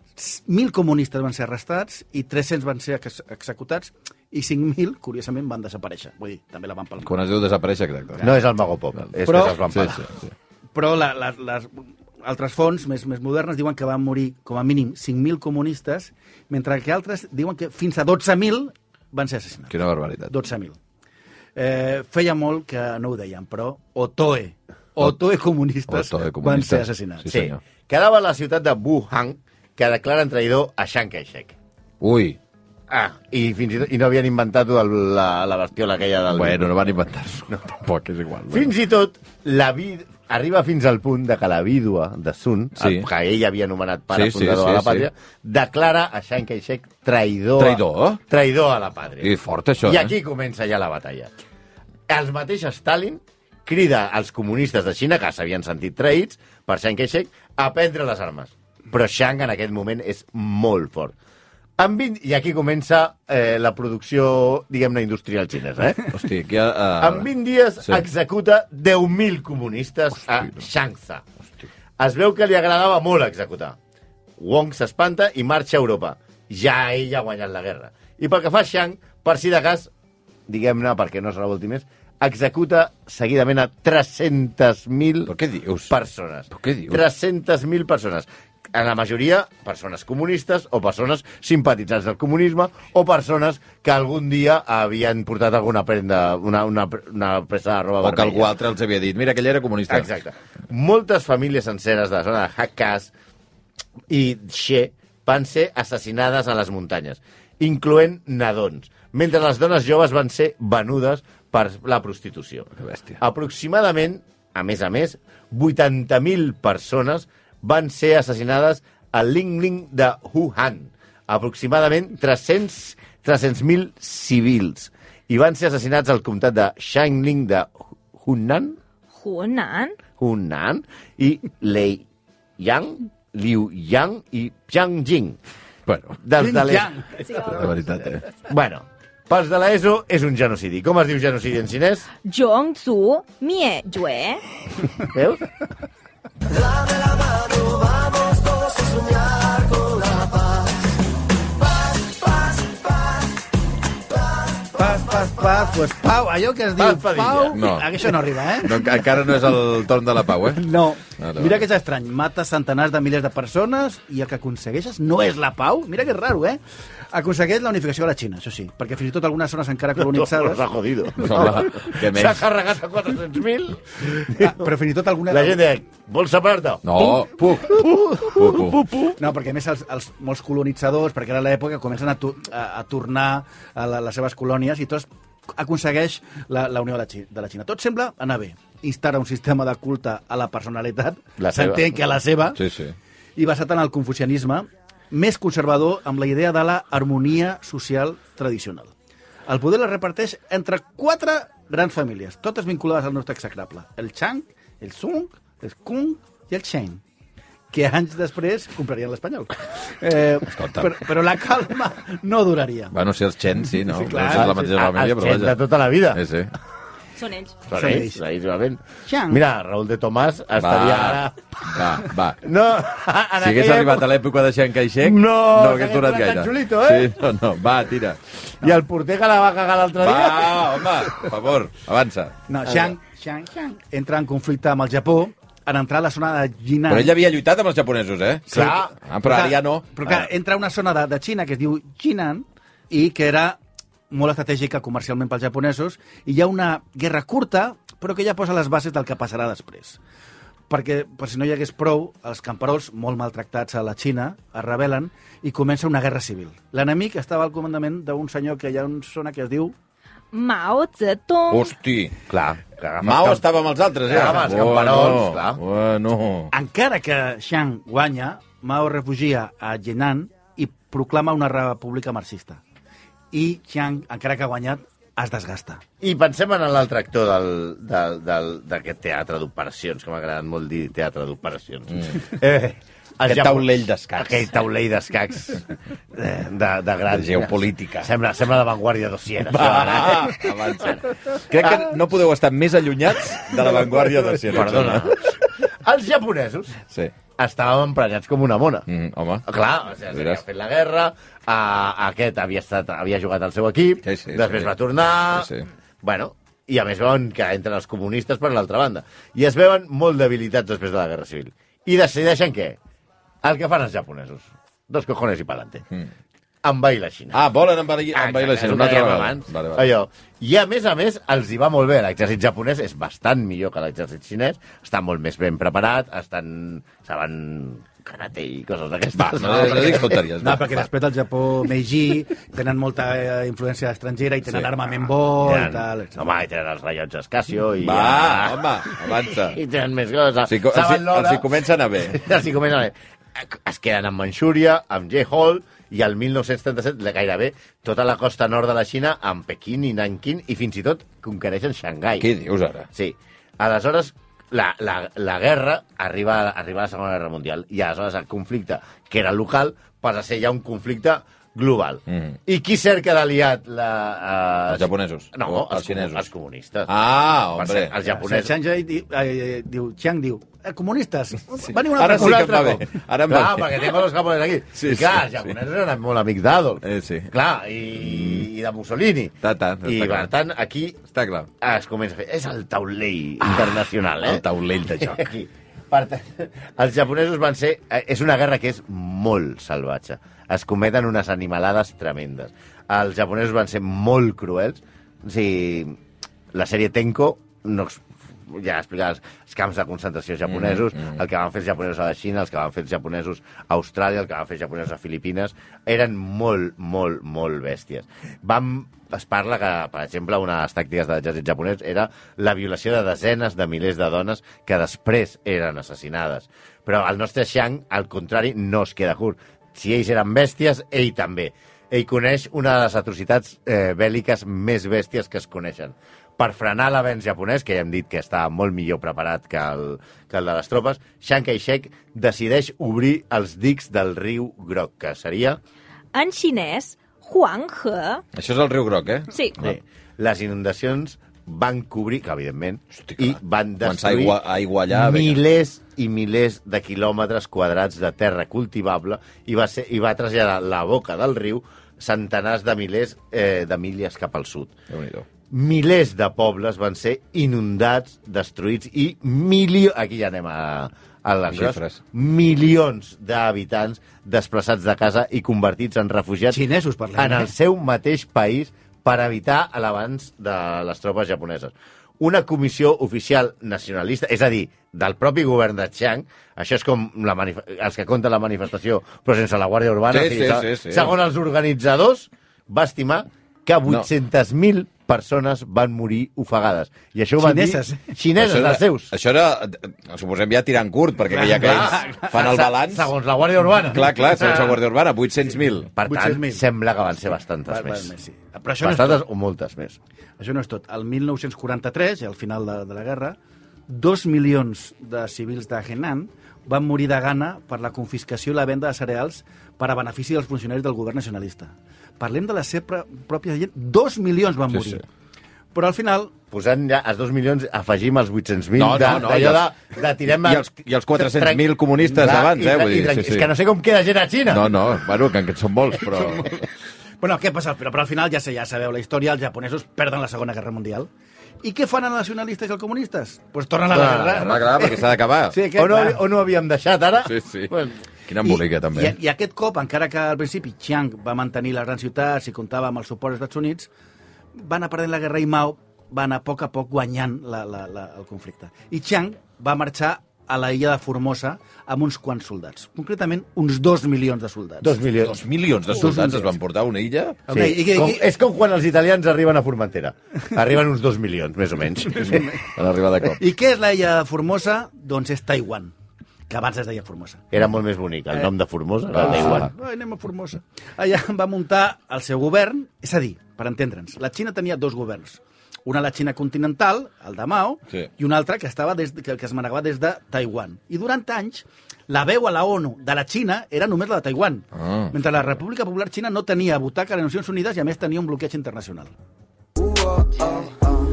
[SPEAKER 4] mil comunistes van ser arrestats i 300 van ser ex executats i 5.000, curiosament, van desaparèixer. Vull dir, també la van palmar.
[SPEAKER 2] Quan es deu desaparèixer, doncs. exacte.
[SPEAKER 3] No és el Magopop, és,
[SPEAKER 4] Però-
[SPEAKER 3] Però... és el
[SPEAKER 2] Sí,
[SPEAKER 3] Vampala.
[SPEAKER 2] sí, sí.
[SPEAKER 4] Però la, la, les altres fonts més, més modernes diuen que van morir com a mínim 5.000 comunistes, mentre que altres diuen que fins a 12.000 van ser assassinats.
[SPEAKER 2] Quina barbaritat.
[SPEAKER 3] Doncs-
[SPEAKER 4] 12.000. Eh, feia molt que no ho deien, però OTOE, OTOE comunistes,
[SPEAKER 2] OTOE
[SPEAKER 4] van
[SPEAKER 2] comunistes.
[SPEAKER 4] ser assassinats.
[SPEAKER 2] Sí,
[SPEAKER 3] Sí,
[SPEAKER 2] senyor.
[SPEAKER 3] quedava la ciutat de Wuhan, que declaren traïdor a Chiang Kai-shek.
[SPEAKER 2] Ui,
[SPEAKER 3] Ah, i fins i tot i no havien inventat el- la, la bestiola aquella del...
[SPEAKER 2] bueno, no van
[SPEAKER 3] [LAUGHS]
[SPEAKER 2] inventar-s'ho. No. Tampoc, és igual.
[SPEAKER 3] Fins i tot, la vi... arriba fins al punt de que la vídua de Sun,
[SPEAKER 2] Sí.
[SPEAKER 3] el que ell havia anomenat pare
[SPEAKER 2] Sí,
[SPEAKER 3] sí,
[SPEAKER 2] sí,
[SPEAKER 3] fundador
[SPEAKER 2] sí,
[SPEAKER 3] de la
[SPEAKER 2] sí.
[SPEAKER 3] pàtria, declara a Chiang Kai-shek traïdor,
[SPEAKER 2] Traïdor?
[SPEAKER 3] A... traïdor a la pàtria.
[SPEAKER 2] I fort, això,
[SPEAKER 3] I
[SPEAKER 2] eh?
[SPEAKER 3] aquí comença ja la batalla. El mateix Stalin crida als comunistes de Xina, que s'havien sentit traïts per Chiang Kai-shek, a prendre les armes. Però Chiang en aquest moment és molt fort. En 20... I aquí comença eh, la producció, diguem-ne, industrial xinesa, eh?
[SPEAKER 2] Hosti, aquí... Uh,
[SPEAKER 3] En 20 dies
[SPEAKER 2] Sí.
[SPEAKER 3] sí. executa 10.000 comunistes a Shanghai. Es veu que li agradava molt executar. Wong s'espanta i marxa a Europa. Ja ell ha guanyat la guerra. I pel que fa a Shang, per si de cas, diguem-ne, perquè no se revolti més, executa seguidament a 300.000
[SPEAKER 2] Però què dius?
[SPEAKER 3] persones.
[SPEAKER 2] Però què dius?
[SPEAKER 3] 300.000 persones. En la majoria, persones comunistes o persones simpatitzants del comunisme o persones que algun dia havien portat alguna prenda, una, una, una presa de roba
[SPEAKER 2] O que
[SPEAKER 3] vermella.
[SPEAKER 2] algú altre els havia dit, mira, aquell era comunista.
[SPEAKER 3] Exacte. Moltes famílies senceres de la zona de Hakas i She van ser assassinades a les muntanyes, incloent nadons, mentre les dones joves van ser venudes per la prostitució.
[SPEAKER 2] Que bèstia.
[SPEAKER 3] Aproximadament, a més a més, 80.000 persones van ser assassinades a Lingling de Wuhan. Aproximadament 300 300.000 civils. I van ser assassinats al comtat de Shangling de Hunan,
[SPEAKER 5] Hunan?
[SPEAKER 3] Hunan i Lei Yang, Liu Yang i Jiang Jing.
[SPEAKER 2] Bueno,
[SPEAKER 3] Dels de l'ESO.
[SPEAKER 5] Sí,
[SPEAKER 2] de veritat, eh?
[SPEAKER 3] Bueno, pels de l'ESO és un genocidi. Com es diu genocidi en xinès?
[SPEAKER 5] Jong Tzu Mie Jue.
[SPEAKER 3] Veus?
[SPEAKER 4] Pas, pas, pas, pues pau, allò que es diu
[SPEAKER 3] Pau
[SPEAKER 4] pau,
[SPEAKER 3] Padilla.
[SPEAKER 2] No.
[SPEAKER 4] això no arriba, eh?
[SPEAKER 2] No, enca- encara no és el torn de la pau, eh?
[SPEAKER 4] No.
[SPEAKER 2] Vale,
[SPEAKER 4] Mira
[SPEAKER 2] vale.
[SPEAKER 4] que és estrany. Mates centenars de milers de persones i el que aconsegueixes no és la pau. Mira que és raro, eh? Aconsegueix la unificació de la Xina, això sí, perquè fins i tot algunes zones encara colonitzades...
[SPEAKER 3] S'ha jodido.
[SPEAKER 2] Home, què més?
[SPEAKER 3] S'ha carregat a 400.000.
[SPEAKER 4] Ah, però fins i tot alguna...
[SPEAKER 3] La gent deia, vol separar-te?
[SPEAKER 2] No, puc. Puc, puc.
[SPEAKER 4] No, perquè a més els, els, molts colonitzadors, perquè era l'època, comencen a, tu, a, a tornar a la, les seves colònies i tots aconsegueix la, la unió de la, Xi- de la Xina. Tot sembla anar bé. Instaura un sistema de culte a la personalitat,
[SPEAKER 3] La seva.
[SPEAKER 4] s'entén que a la seva,
[SPEAKER 2] Sí, sí.
[SPEAKER 4] i basat en el confucianisme, més conservador amb la idea de la harmonia social tradicional. El poder la reparteix entre quatre grans famílies, totes vinculades al nostre execrable. El Chang, el Sung, el Kung i el Chen que anys després comprarien l'Espanyol. Eh,
[SPEAKER 2] Escolta.
[SPEAKER 4] però, però la calma no duraria.
[SPEAKER 2] Bueno, si els Chen, sí, no?
[SPEAKER 4] Sí, clar.
[SPEAKER 2] No és la mateixa
[SPEAKER 3] Ah,
[SPEAKER 2] família,
[SPEAKER 3] els
[SPEAKER 2] però
[SPEAKER 3] Chen de
[SPEAKER 2] vaja.
[SPEAKER 3] tota la vida.
[SPEAKER 2] Sí, sí.
[SPEAKER 5] Són ells.
[SPEAKER 3] Són
[SPEAKER 4] Són
[SPEAKER 3] ells,
[SPEAKER 4] ells.
[SPEAKER 3] ells, realment.
[SPEAKER 4] Shang.
[SPEAKER 3] Mira, Raül de Tomàs estaria ara...
[SPEAKER 2] Va, va.
[SPEAKER 3] No, [LAUGHS] en
[SPEAKER 2] Si hagués
[SPEAKER 3] aquella
[SPEAKER 2] arribat a l'època de Chiang Kai-shek, no
[SPEAKER 3] No,
[SPEAKER 2] hagués
[SPEAKER 3] s'hagués
[SPEAKER 2] durat
[SPEAKER 3] donat
[SPEAKER 2] gaire.
[SPEAKER 3] tan xulito, eh?
[SPEAKER 2] Sí, no, no. Va, tira.
[SPEAKER 3] I el porter que la va cagar l'altre dia...
[SPEAKER 2] Va, home, per favor, avança.
[SPEAKER 4] No, Shang, Shang, Shang entra en conflicte amb el Japó en entrar a la zona de Jinan.
[SPEAKER 2] Però ell havia lluitat amb els japonesos, eh?
[SPEAKER 4] Sí.
[SPEAKER 2] Ah, però ara ja no.
[SPEAKER 4] Però clar,
[SPEAKER 2] Ah.
[SPEAKER 4] entra a una zona de, de Xina que es diu Jinan i que era molt estratègica comercialment pels japonesos i hi ha una guerra curta però que ja posa les bases del que passarà després. Perquè, per si no hi hagués prou, els camperols, molt maltractats a la Xina, es rebel·len i comença una guerra civil. L'enemic estava al comandament d'un senyor que hi ha una zona que es diu...
[SPEAKER 5] Mao Zedong.
[SPEAKER 2] Hosti.
[SPEAKER 3] Clar, que agafa
[SPEAKER 2] Mao
[SPEAKER 3] el camp-
[SPEAKER 2] estava amb els altres, eh?
[SPEAKER 3] Estava amb els camperols, clar.
[SPEAKER 2] Bueno.
[SPEAKER 4] Encara que Shang guanya, Mao es refugia a Jinan i proclama una república marxista. I Shang, encara que ha guanyat, es desgasta.
[SPEAKER 3] I pensem en l'altre actor del- del- del- d'aquest teatre d'operacions, que m'ha agradat molt dir teatre d'operacions. Mm. Eh,
[SPEAKER 2] Aquest
[SPEAKER 3] Japó.
[SPEAKER 2] taulell d'escacs.
[SPEAKER 3] Aquell taulell d'escacs de, de, de gran.
[SPEAKER 2] De geopolítica.
[SPEAKER 3] Sembla, sembla l'avantguàrdia dossier.
[SPEAKER 2] Va, avança. Crec que no podeu estar més allunyats de l'avantguàrdia de Sierra.
[SPEAKER 3] Perdona. Els japonesos
[SPEAKER 2] Sí.
[SPEAKER 3] estàvem emprenyats com una mona.
[SPEAKER 2] Mm, home.
[SPEAKER 3] Clar, o sigui, havia
[SPEAKER 2] Veuràs.
[SPEAKER 3] fet la guerra, a, a aquest havia, estat, havia jugat al seu equip,
[SPEAKER 2] Sí, sí,
[SPEAKER 3] després
[SPEAKER 2] sí.
[SPEAKER 3] va tornar...
[SPEAKER 2] Sí, sí.
[SPEAKER 3] Bueno, i a més veuen que entren els comunistes per l'altra banda. I es veuen molt debilitats després de la guerra civil. I decideixen què? El que fan els japonesos. Dos cojones i pa'lante. Mm. Envair la Xina.
[SPEAKER 2] Ah, volen envair, envair la Xina.
[SPEAKER 3] Exacte, és el
[SPEAKER 2] Una
[SPEAKER 3] que
[SPEAKER 2] altra
[SPEAKER 3] dèiem
[SPEAKER 2] vegada.
[SPEAKER 3] abans.
[SPEAKER 2] Vale, vale.
[SPEAKER 3] Allò. I a més a més, els hi va molt bé. L'exèrcit japonès és bastant millor que l'exèrcit xinès, està molt més ben preparat, estan... saben karate i coses d'aquestes.
[SPEAKER 2] No, no, no dic tonteries.
[SPEAKER 4] No,
[SPEAKER 2] va.
[SPEAKER 4] perquè després del Japó, Meiji, tenen molta eh, influència estrangera i tenen
[SPEAKER 2] Sí.
[SPEAKER 4] sí. armament bo i
[SPEAKER 3] Tenen,
[SPEAKER 4] tal. etc.
[SPEAKER 3] home, i tenen els rellotges Casio i...
[SPEAKER 2] Va,
[SPEAKER 3] ah,
[SPEAKER 2] home, avança.
[SPEAKER 3] I tenen més coses.
[SPEAKER 2] Si, co- els,
[SPEAKER 3] Saben
[SPEAKER 2] hi-
[SPEAKER 3] l'hora.
[SPEAKER 2] els hi comencen a bé.
[SPEAKER 3] [LAUGHS] Els hi comencen a bé. Es queden amb Manxúria, amb Jay Hall, i el 1937 la- gairebé tota la costa nord de la Xina amb Pequín i Nanquín i fins i tot conquereixen Xangai.
[SPEAKER 2] Què dius ara?
[SPEAKER 3] Sí. Aleshores, la, la, la guerra arriba, arriba a la Segona Guerra Mundial i aleshores el conflicte, que era local, passa a ser ja un conflicte global.
[SPEAKER 2] Mm.
[SPEAKER 3] I qui cerca d'aliat? La, eh,
[SPEAKER 2] Els japonesos?
[SPEAKER 3] No,
[SPEAKER 2] O
[SPEAKER 3] els,
[SPEAKER 2] els xinesos?
[SPEAKER 3] Els comunistes.
[SPEAKER 2] Ah,
[SPEAKER 3] Per
[SPEAKER 2] hombre.
[SPEAKER 3] cert, Els
[SPEAKER 4] japonès.
[SPEAKER 3] japonesos.
[SPEAKER 4] Chiang Jai diu, eh, diu, Chiang diu, eh, comunistes, sí. veniu un
[SPEAKER 2] Ara
[SPEAKER 4] altre
[SPEAKER 2] sí
[SPEAKER 4] cop.
[SPEAKER 2] que
[SPEAKER 4] Un altre
[SPEAKER 2] em va
[SPEAKER 4] cop.
[SPEAKER 2] bé. Ara em va
[SPEAKER 3] clar,
[SPEAKER 2] bé.
[SPEAKER 3] perquè tengo los japonesos aquí.
[SPEAKER 2] Sí,
[SPEAKER 3] I clar,
[SPEAKER 2] sí,
[SPEAKER 3] els japonesos eren molt amics d'Adolf.
[SPEAKER 2] Eh, sí. Mm.
[SPEAKER 3] Clar, i, i de Mussolini.
[SPEAKER 2] Ta, ta, ta,
[SPEAKER 3] I,
[SPEAKER 2] ta,
[SPEAKER 3] per
[SPEAKER 2] clar.
[SPEAKER 3] tant, aquí
[SPEAKER 2] Està clar. Ah,
[SPEAKER 3] es comença a fer... És el taulell internacional, eh?
[SPEAKER 2] El taulell de joc.
[SPEAKER 3] Aquí. Per tant, els japonesos van ser... eh, És una guerra que és molt salvatge. Es cometen unes animalades tremendes. Els japonesos van ser molt cruels. O sigui, la sèrie Tenko no ex- ja explicava els, els camps de concentració japonesos, mm, mm. el que van fer els japonesos a la Xina, els que van fer els japonesos a Austràlia, el que van fer els japonesos a Filipines, eren molt, molt, molt bèsties. Vam, es parla que, per exemple, una de les tàctiques de l'exèrcit japonès era la violació de desenes de milers de dones que després eren assassinades. Però el nostre Xiang, al contrari, no es queda curt. Si ells eren bèsties, ell també. Ell coneix una de les atrocitats eh, bèl·liques més bèsties que es coneixen. Per frenar l'avenç japonès, que ja hem dit que està molt millor preparat que el, que el de les tropes, Chiang Kai-shek decideix obrir els dics del riu Groc, que seria
[SPEAKER 5] En xinès, Huang He...
[SPEAKER 2] Això és el riu groc, eh?
[SPEAKER 5] Sí,
[SPEAKER 3] Bé, les inundacions van cobrir, que evidentment,
[SPEAKER 2] Hosti,
[SPEAKER 3] i
[SPEAKER 2] clar.
[SPEAKER 3] van
[SPEAKER 2] Començar
[SPEAKER 3] destruir
[SPEAKER 2] a aigua- a aiguallar, vinga.
[SPEAKER 3] milers i milers de quilòmetres quadrats de terra cultivable i va, ser, i va traslladar la boca del riu centenars de milers eh, de milles cap al sud.
[SPEAKER 2] Déu-n'hi-do.
[SPEAKER 3] Milers de pobles van ser inundats, destruïts i milions... Aquí ja anem a, a l'engròs.
[SPEAKER 2] Xifres.
[SPEAKER 3] Milions d'habitants desplaçats de casa i convertits en refugiats
[SPEAKER 4] Xinesos parlem.
[SPEAKER 3] en el seu mateix país per evitar l'avanç de les tropes japoneses. Una comissió oficial nacionalista, és a dir, del propi govern de Chiang, això és com la manif- els que compten la manifestació, però sense la Guàrdia Urbana,
[SPEAKER 2] Sí,
[SPEAKER 3] o sigui,
[SPEAKER 2] sí,
[SPEAKER 3] se-
[SPEAKER 2] sí, sí.
[SPEAKER 3] segons els organitzadors, va estimar que 800.000 persones van morir ofegades. I això ho van
[SPEAKER 4] Xineses.
[SPEAKER 3] dir... Xineses,
[SPEAKER 2] era,
[SPEAKER 3] dels seus.
[SPEAKER 2] Això era, eh, suposem, ja tirant curt, perquè ja que ells fan el
[SPEAKER 3] Se-
[SPEAKER 2] balanç...
[SPEAKER 3] Segons la Guàrdia Urbana.
[SPEAKER 2] Clar, clar, segons la Guàrdia Urbana, 800.000.
[SPEAKER 3] Per tant,
[SPEAKER 4] 800.000.
[SPEAKER 3] sembla que van ser bastantes
[SPEAKER 4] Val, val,
[SPEAKER 3] més.
[SPEAKER 4] sí. Però això no, és
[SPEAKER 3] Bastantes o moltes més.
[SPEAKER 4] tot. això no és tot. El 1943, al final de, de la guerra, dos milions de civils de Henan van morir de gana per la confiscació i la venda de cereals per a benefici dels funcionaris del govern nacionalista. Parlem de la seva pròpia gent. Dos milions van
[SPEAKER 2] Sí,
[SPEAKER 4] morir. Però al final,
[SPEAKER 3] posant ja els 2 milions, afegim els 800.000
[SPEAKER 2] No, no,
[SPEAKER 3] de,
[SPEAKER 2] no,
[SPEAKER 3] d'allò
[SPEAKER 2] i
[SPEAKER 3] de,
[SPEAKER 2] els-
[SPEAKER 3] de tirem...
[SPEAKER 2] i els- i els 400.000 comunistes
[SPEAKER 3] Clar,
[SPEAKER 2] abans,
[SPEAKER 3] i
[SPEAKER 2] eh,
[SPEAKER 3] tra-
[SPEAKER 2] vull
[SPEAKER 3] i
[SPEAKER 2] dir,
[SPEAKER 3] tra-
[SPEAKER 2] sí, sí.
[SPEAKER 3] És que no sé com queda gent a Xina.
[SPEAKER 2] No, no, bueno, que en són molts, però...
[SPEAKER 4] Bueno, què passa? Però, però al final ja sé, ja sabeu la història, els japonesos perden la Segona Guerra Mundial. I què fan els nacionalistes i els comunistes? Doncs pues tornen a la guerra.
[SPEAKER 2] Clar, clar, perquè s'ha d'acabar.
[SPEAKER 4] Sí,
[SPEAKER 3] O no,
[SPEAKER 4] clar.
[SPEAKER 3] o no havíem deixat ara?
[SPEAKER 2] Sí, sí.
[SPEAKER 3] Bueno,
[SPEAKER 2] Quina embolica,
[SPEAKER 4] I,
[SPEAKER 2] també.
[SPEAKER 4] I, I aquest cop, encara que al principi Chiang va mantenir les grans ciutats i comptava amb el suport dels Estats Units, va anar perdent la guerra i Mao va anar a poc a poc guanyant la, la, la, el conflicte. I Chiang va marxar a la illa de Formosa amb uns quants soldats. Concretament, uns dos milions de soldats.
[SPEAKER 3] dos milions.
[SPEAKER 2] Dos milions de soldats es van portar a una illa?
[SPEAKER 4] Sí. I, i, i,
[SPEAKER 3] Com, és com quan els italians arriben a Formentera. Arriben uns 2 milions, més o menys.
[SPEAKER 2] Van arribar de cop.
[SPEAKER 4] I què és la illa de Formosa? Doncs és Taiwan, que abans es deia Formosa.
[SPEAKER 3] Era molt més bonic, el nom de Formosa,
[SPEAKER 2] Ah.
[SPEAKER 3] ah. de Taiwan.
[SPEAKER 4] Ai, anem a Formosa. Allà va muntar el seu govern, és a dir, per entendre'ns, la Xina tenia dos governs. Una a la Xina continental, el de Mao,
[SPEAKER 2] Sí.
[SPEAKER 4] i una altra que, estava des, que, que es manegava des de Taiwan. I durant anys, la veu a la ONU de la Xina era només la de Taiwan,
[SPEAKER 2] Ah.
[SPEAKER 4] mentre la República Popular Xina no tenia butaca a les Nacions Unides i, a més, tenia un bloqueig internacional.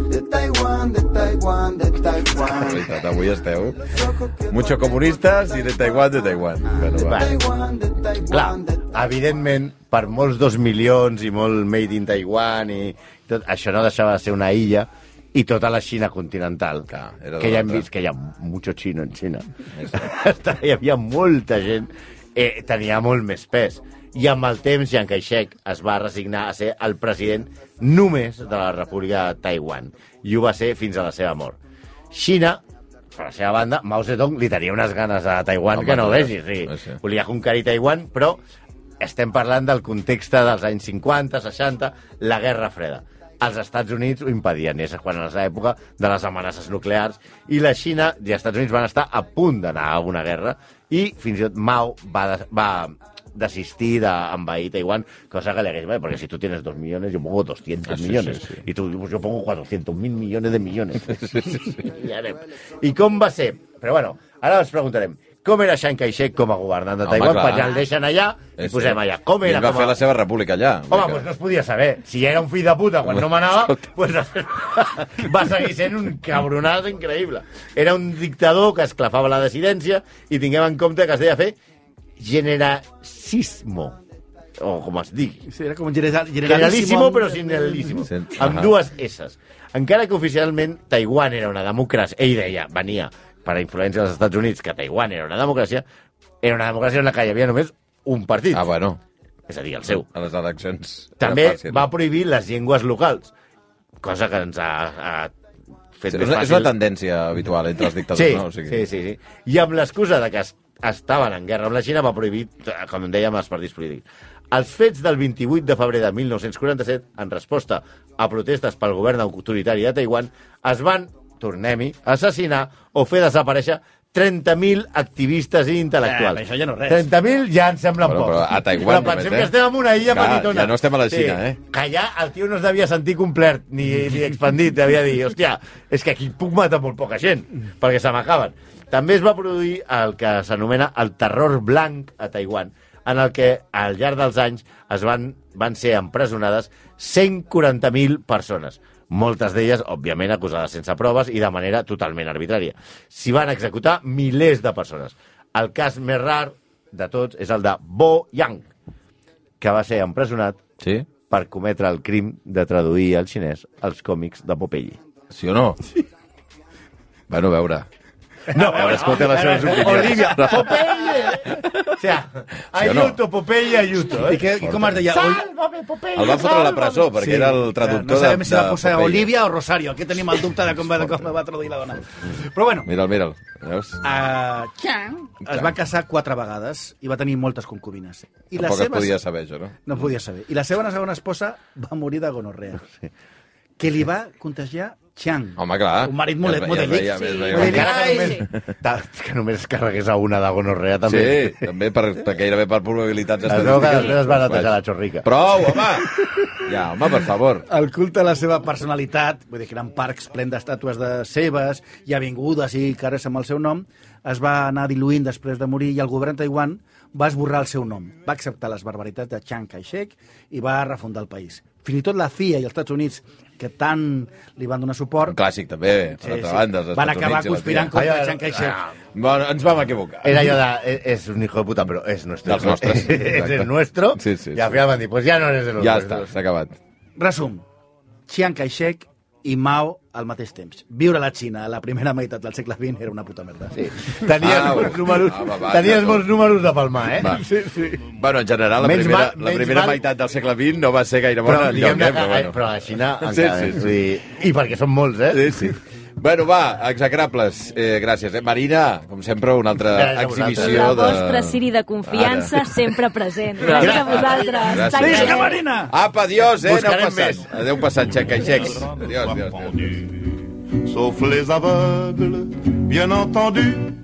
[SPEAKER 7] de Taiwán, de Taiwán, de
[SPEAKER 2] La
[SPEAKER 7] Taiwán.
[SPEAKER 2] veritat, avui esteu... Mucho comunistas i de Taiwan, de Taiwan. Bueno, va.
[SPEAKER 3] Va.
[SPEAKER 7] Taiwán, de
[SPEAKER 3] Clar,
[SPEAKER 7] Taiwán, de Taiwán.
[SPEAKER 3] evidentment, per molts dos milions i molt made in Taiwan i tot, això no deixava de ser una illa i tota la Xina continental,
[SPEAKER 2] Clar, era de
[SPEAKER 3] que ja hem
[SPEAKER 2] l'altre.
[SPEAKER 3] vist que hi ha mucho xino en Xina. [LAUGHS] hi havia molta gent, eh, tenia molt més pes. I amb el temps, Chiang Kai-shek es va resignar a ser el president només de la República de Taiwan. I ho va ser fins a la seva mort. Xina, per la seva banda, Mao Zedong li tenia unes ganes a Taiwan
[SPEAKER 2] Home,
[SPEAKER 3] que no
[SPEAKER 2] clar,
[SPEAKER 3] vegis. Sí.
[SPEAKER 2] sí, sí.
[SPEAKER 3] Volia conquerir Taiwan, però estem parlant del context dels anys 50, 60, la Guerra Freda. Els Estats Units ho impedien, és quan era l'època de les amenaces nuclears, i la Xina i els Estats Units van estar a punt d'anar a una guerra, i fins i tot Mao va, de- va desistir d'envair Taiwan, cosa que le hagués, "Vale, porque si tú tienes dos millones, yo pongo 200
[SPEAKER 2] Ah, sí,
[SPEAKER 3] millones,
[SPEAKER 2] sí, sí.
[SPEAKER 3] y tú, pues yo pongo 400 mil millones de millones. [LAUGHS] I anem. I com va ser? Però bueno, ara ens preguntarem, com era Chiang Kai-shek com a governant de
[SPEAKER 2] Home,
[SPEAKER 3] Taiwan?
[SPEAKER 2] clar.
[SPEAKER 3] Perquè el deixen allà i
[SPEAKER 2] És-
[SPEAKER 3] posem allà. Com
[SPEAKER 2] I
[SPEAKER 3] era
[SPEAKER 2] ell va
[SPEAKER 3] com
[SPEAKER 2] fer
[SPEAKER 3] a...
[SPEAKER 2] la seva república allà.
[SPEAKER 3] Home,
[SPEAKER 2] Vull
[SPEAKER 3] doncs no
[SPEAKER 2] dir
[SPEAKER 3] es podia saber. Si era un fill de puta quan no manava,
[SPEAKER 2] Escolta.
[SPEAKER 3] pues, [LAUGHS] va seguir sent un cabronàs increïble. Era un dictador que esclafava la dissidència i tinguem en compte que es deia fer generasismo, o com es digui.
[SPEAKER 4] Sí, era com general,
[SPEAKER 3] Generalísimo, però sin generalísimo.
[SPEAKER 2] Sí.
[SPEAKER 3] Amb
[SPEAKER 2] Ahà.
[SPEAKER 3] dues S. Encara que oficialment Taiwan era una democràcia, ell deia, venia per a influència dels Estats Units, que Taiwan era una democràcia, era una democràcia en la que hi havia només un
[SPEAKER 2] que-
[SPEAKER 3] partit,
[SPEAKER 2] Ah, bueno.
[SPEAKER 3] és a dir, el seu.
[SPEAKER 2] A les eleccions. era
[SPEAKER 3] També
[SPEAKER 2] fàcil.
[SPEAKER 3] va prohibir les llengües locals, cosa que ens ha, ha fet
[SPEAKER 2] Sí,
[SPEAKER 3] més
[SPEAKER 2] és, una,
[SPEAKER 3] fàcil.
[SPEAKER 2] és una tendència habitual entre els dictadors,
[SPEAKER 3] Sí,
[SPEAKER 2] no? O
[SPEAKER 3] sí, sí, sí. I amb l'excusa de que es- estaven en guerra amb la Xina va prohibir, eh, com dèiem, els partits polítics. Els fets del 28 de febrer de 1947, en resposta a protestes pel govern autoritari de Taiwan, es van, tornem-hi, assassinar o fer desaparèixer 30.000 activistes i intel·lectuals.
[SPEAKER 4] Eh, però això ja no és res.
[SPEAKER 3] 30.000 ja ens semblen
[SPEAKER 2] Bueno,
[SPEAKER 3] pocs.
[SPEAKER 2] però a Taiwan
[SPEAKER 3] Però
[SPEAKER 2] només,
[SPEAKER 3] pensem
[SPEAKER 2] eh?
[SPEAKER 3] que estem en una illa
[SPEAKER 2] Clar,
[SPEAKER 3] petitona.
[SPEAKER 2] ja no estem a la Xina, eh?
[SPEAKER 3] Que allà el tio no es devia sentir complert ni, ni expandit, devia dir, hòstia, és que aquí puc matar molt poca gent, perquè se m'acaben. També es va produir el que s'anomena el terror blanc a Taiwan, en el que al llarg dels anys es van, van ser empresonades 140.000 persones. Moltes d'elles, òbviament, acusades sense proves i de manera totalment arbitrària. S'hi van executar milers de persones. El cas més rar de tots és el de Bo Yang, que va ser empresonat
[SPEAKER 2] Sí?
[SPEAKER 3] per cometre el crim de traduir al xinès els còmics de Popeye.
[SPEAKER 2] Sí o no? Sí. Bueno, a veure.
[SPEAKER 3] No,
[SPEAKER 2] veure, escolta les seves opinions.
[SPEAKER 3] Ah, Olivia, Popeye! O sea,
[SPEAKER 2] o no?
[SPEAKER 3] Ayuto, Popeye, Ayuto.
[SPEAKER 4] I,
[SPEAKER 3] Eh?
[SPEAKER 4] que, I com es deia? Ol-
[SPEAKER 3] Sálvame, Popeye!
[SPEAKER 2] El van fotre a la presó, perquè era el traductor
[SPEAKER 4] no sabem
[SPEAKER 2] de,
[SPEAKER 4] si va
[SPEAKER 2] de
[SPEAKER 4] posar
[SPEAKER 2] Popeye.
[SPEAKER 4] Olivia o Rosario, aquí tenim el dubte de com va, de com va traduir la dona. Però bueno,
[SPEAKER 2] Mira'l, mira'l. Veus?
[SPEAKER 4] a Chang es va casar quatre vegades i va tenir moltes concubines. I
[SPEAKER 2] Tampoc
[SPEAKER 4] la
[SPEAKER 2] es
[SPEAKER 4] seva,
[SPEAKER 2] podia saber, això, no?
[SPEAKER 4] No podia saber. I la seva segona esposa va morir de gonorrea, que li va contagiar Chang.
[SPEAKER 2] Home, clar.
[SPEAKER 4] Un marit molt,
[SPEAKER 2] Ja es
[SPEAKER 4] molt
[SPEAKER 2] veia-
[SPEAKER 4] delic.
[SPEAKER 2] ja es veia-
[SPEAKER 5] Sí.
[SPEAKER 2] ja es veia-
[SPEAKER 5] Molt
[SPEAKER 3] Encara que
[SPEAKER 5] Ai,
[SPEAKER 3] només, ta- que només es carregués a una de gonorrea, també.
[SPEAKER 2] Sí, també per, per gairebé per probabilitats
[SPEAKER 3] Es veu que després es va netejar la xorrica.
[SPEAKER 2] Prou, home! Ja, home, per favor.
[SPEAKER 4] El culte a la seva personalitat, vull dir que eren parcs plens d'estàtues de seves i avingudes i carrers amb el seu nom, es va anar diluint després de morir i el govern de Taiwan va esborrar el seu nom. Va acceptar les barbaritats de Chiang Kai-shek i va refundar el país. Fins i tot la CIA i els Estats Units, que tant li van donar suport,
[SPEAKER 2] Un clàssic, també, per sí, altra banda. dels
[SPEAKER 4] van
[SPEAKER 2] Estats
[SPEAKER 4] acabar
[SPEAKER 2] Units i la
[SPEAKER 4] conspirant
[SPEAKER 2] CIA.
[SPEAKER 3] CIA.
[SPEAKER 4] contra
[SPEAKER 3] Ai,
[SPEAKER 4] Chiang Kai-shek.
[SPEAKER 2] Bueno, ens vam equivocar.
[SPEAKER 3] Era allò de, "Eh, és un hijo de puta, però és nostre.
[SPEAKER 2] Dels nostres,
[SPEAKER 3] [LAUGHS] és
[SPEAKER 2] exacte.
[SPEAKER 3] el nuestro.
[SPEAKER 2] Sí, sí,
[SPEAKER 3] I al
[SPEAKER 2] sí.
[SPEAKER 3] final van dir, pues ja no eres de
[SPEAKER 2] Ja
[SPEAKER 3] nosotros.
[SPEAKER 2] està, s'ha acabat.
[SPEAKER 4] Resum. Chiang Kai-shek i Mao al mateix temps. Viure a la Xina a la primera meitat del segle XX era una puta merda. Sí.
[SPEAKER 3] Tenies
[SPEAKER 2] Ah,
[SPEAKER 3] molts
[SPEAKER 2] va,
[SPEAKER 3] números,
[SPEAKER 2] va, va,
[SPEAKER 3] tenies
[SPEAKER 2] ja
[SPEAKER 3] molts
[SPEAKER 2] tot.
[SPEAKER 3] números de palmar, eh?
[SPEAKER 2] Va. Bueno, en general, la
[SPEAKER 3] Menys
[SPEAKER 2] primera,
[SPEAKER 3] mal-
[SPEAKER 2] la
[SPEAKER 3] menys
[SPEAKER 2] primera
[SPEAKER 3] mal-
[SPEAKER 2] meitat del segle XX no va ser gaire bona
[SPEAKER 3] Però,
[SPEAKER 2] enlloc,
[SPEAKER 3] diguem
[SPEAKER 2] eh?
[SPEAKER 3] però, bueno. però a la Xina encara.
[SPEAKER 2] sí,
[SPEAKER 3] Sí, sí, sí. I perquè són molts, eh?
[SPEAKER 2] Sí, sí. Bueno, va, execrables. Eh, gràcies. Eh? Marina, com sempre, una altra
[SPEAKER 3] Gràcies a vosaltres.
[SPEAKER 5] La
[SPEAKER 2] exhibició de...
[SPEAKER 5] vostra Siri de confiança sempre present. Gràcies a vosaltres.
[SPEAKER 2] Gràcies.
[SPEAKER 5] Tant que
[SPEAKER 4] Visca
[SPEAKER 5] bé.
[SPEAKER 4] Marina!
[SPEAKER 2] Apa, adiós, eh? Aneu
[SPEAKER 3] Buscarem
[SPEAKER 2] passant.
[SPEAKER 3] més.
[SPEAKER 2] Adéu passant, xecaixecs. Adiós,
[SPEAKER 1] Pas
[SPEAKER 2] adiós, adiós.
[SPEAKER 1] pendu, Sauf les aveugles, bien entendu.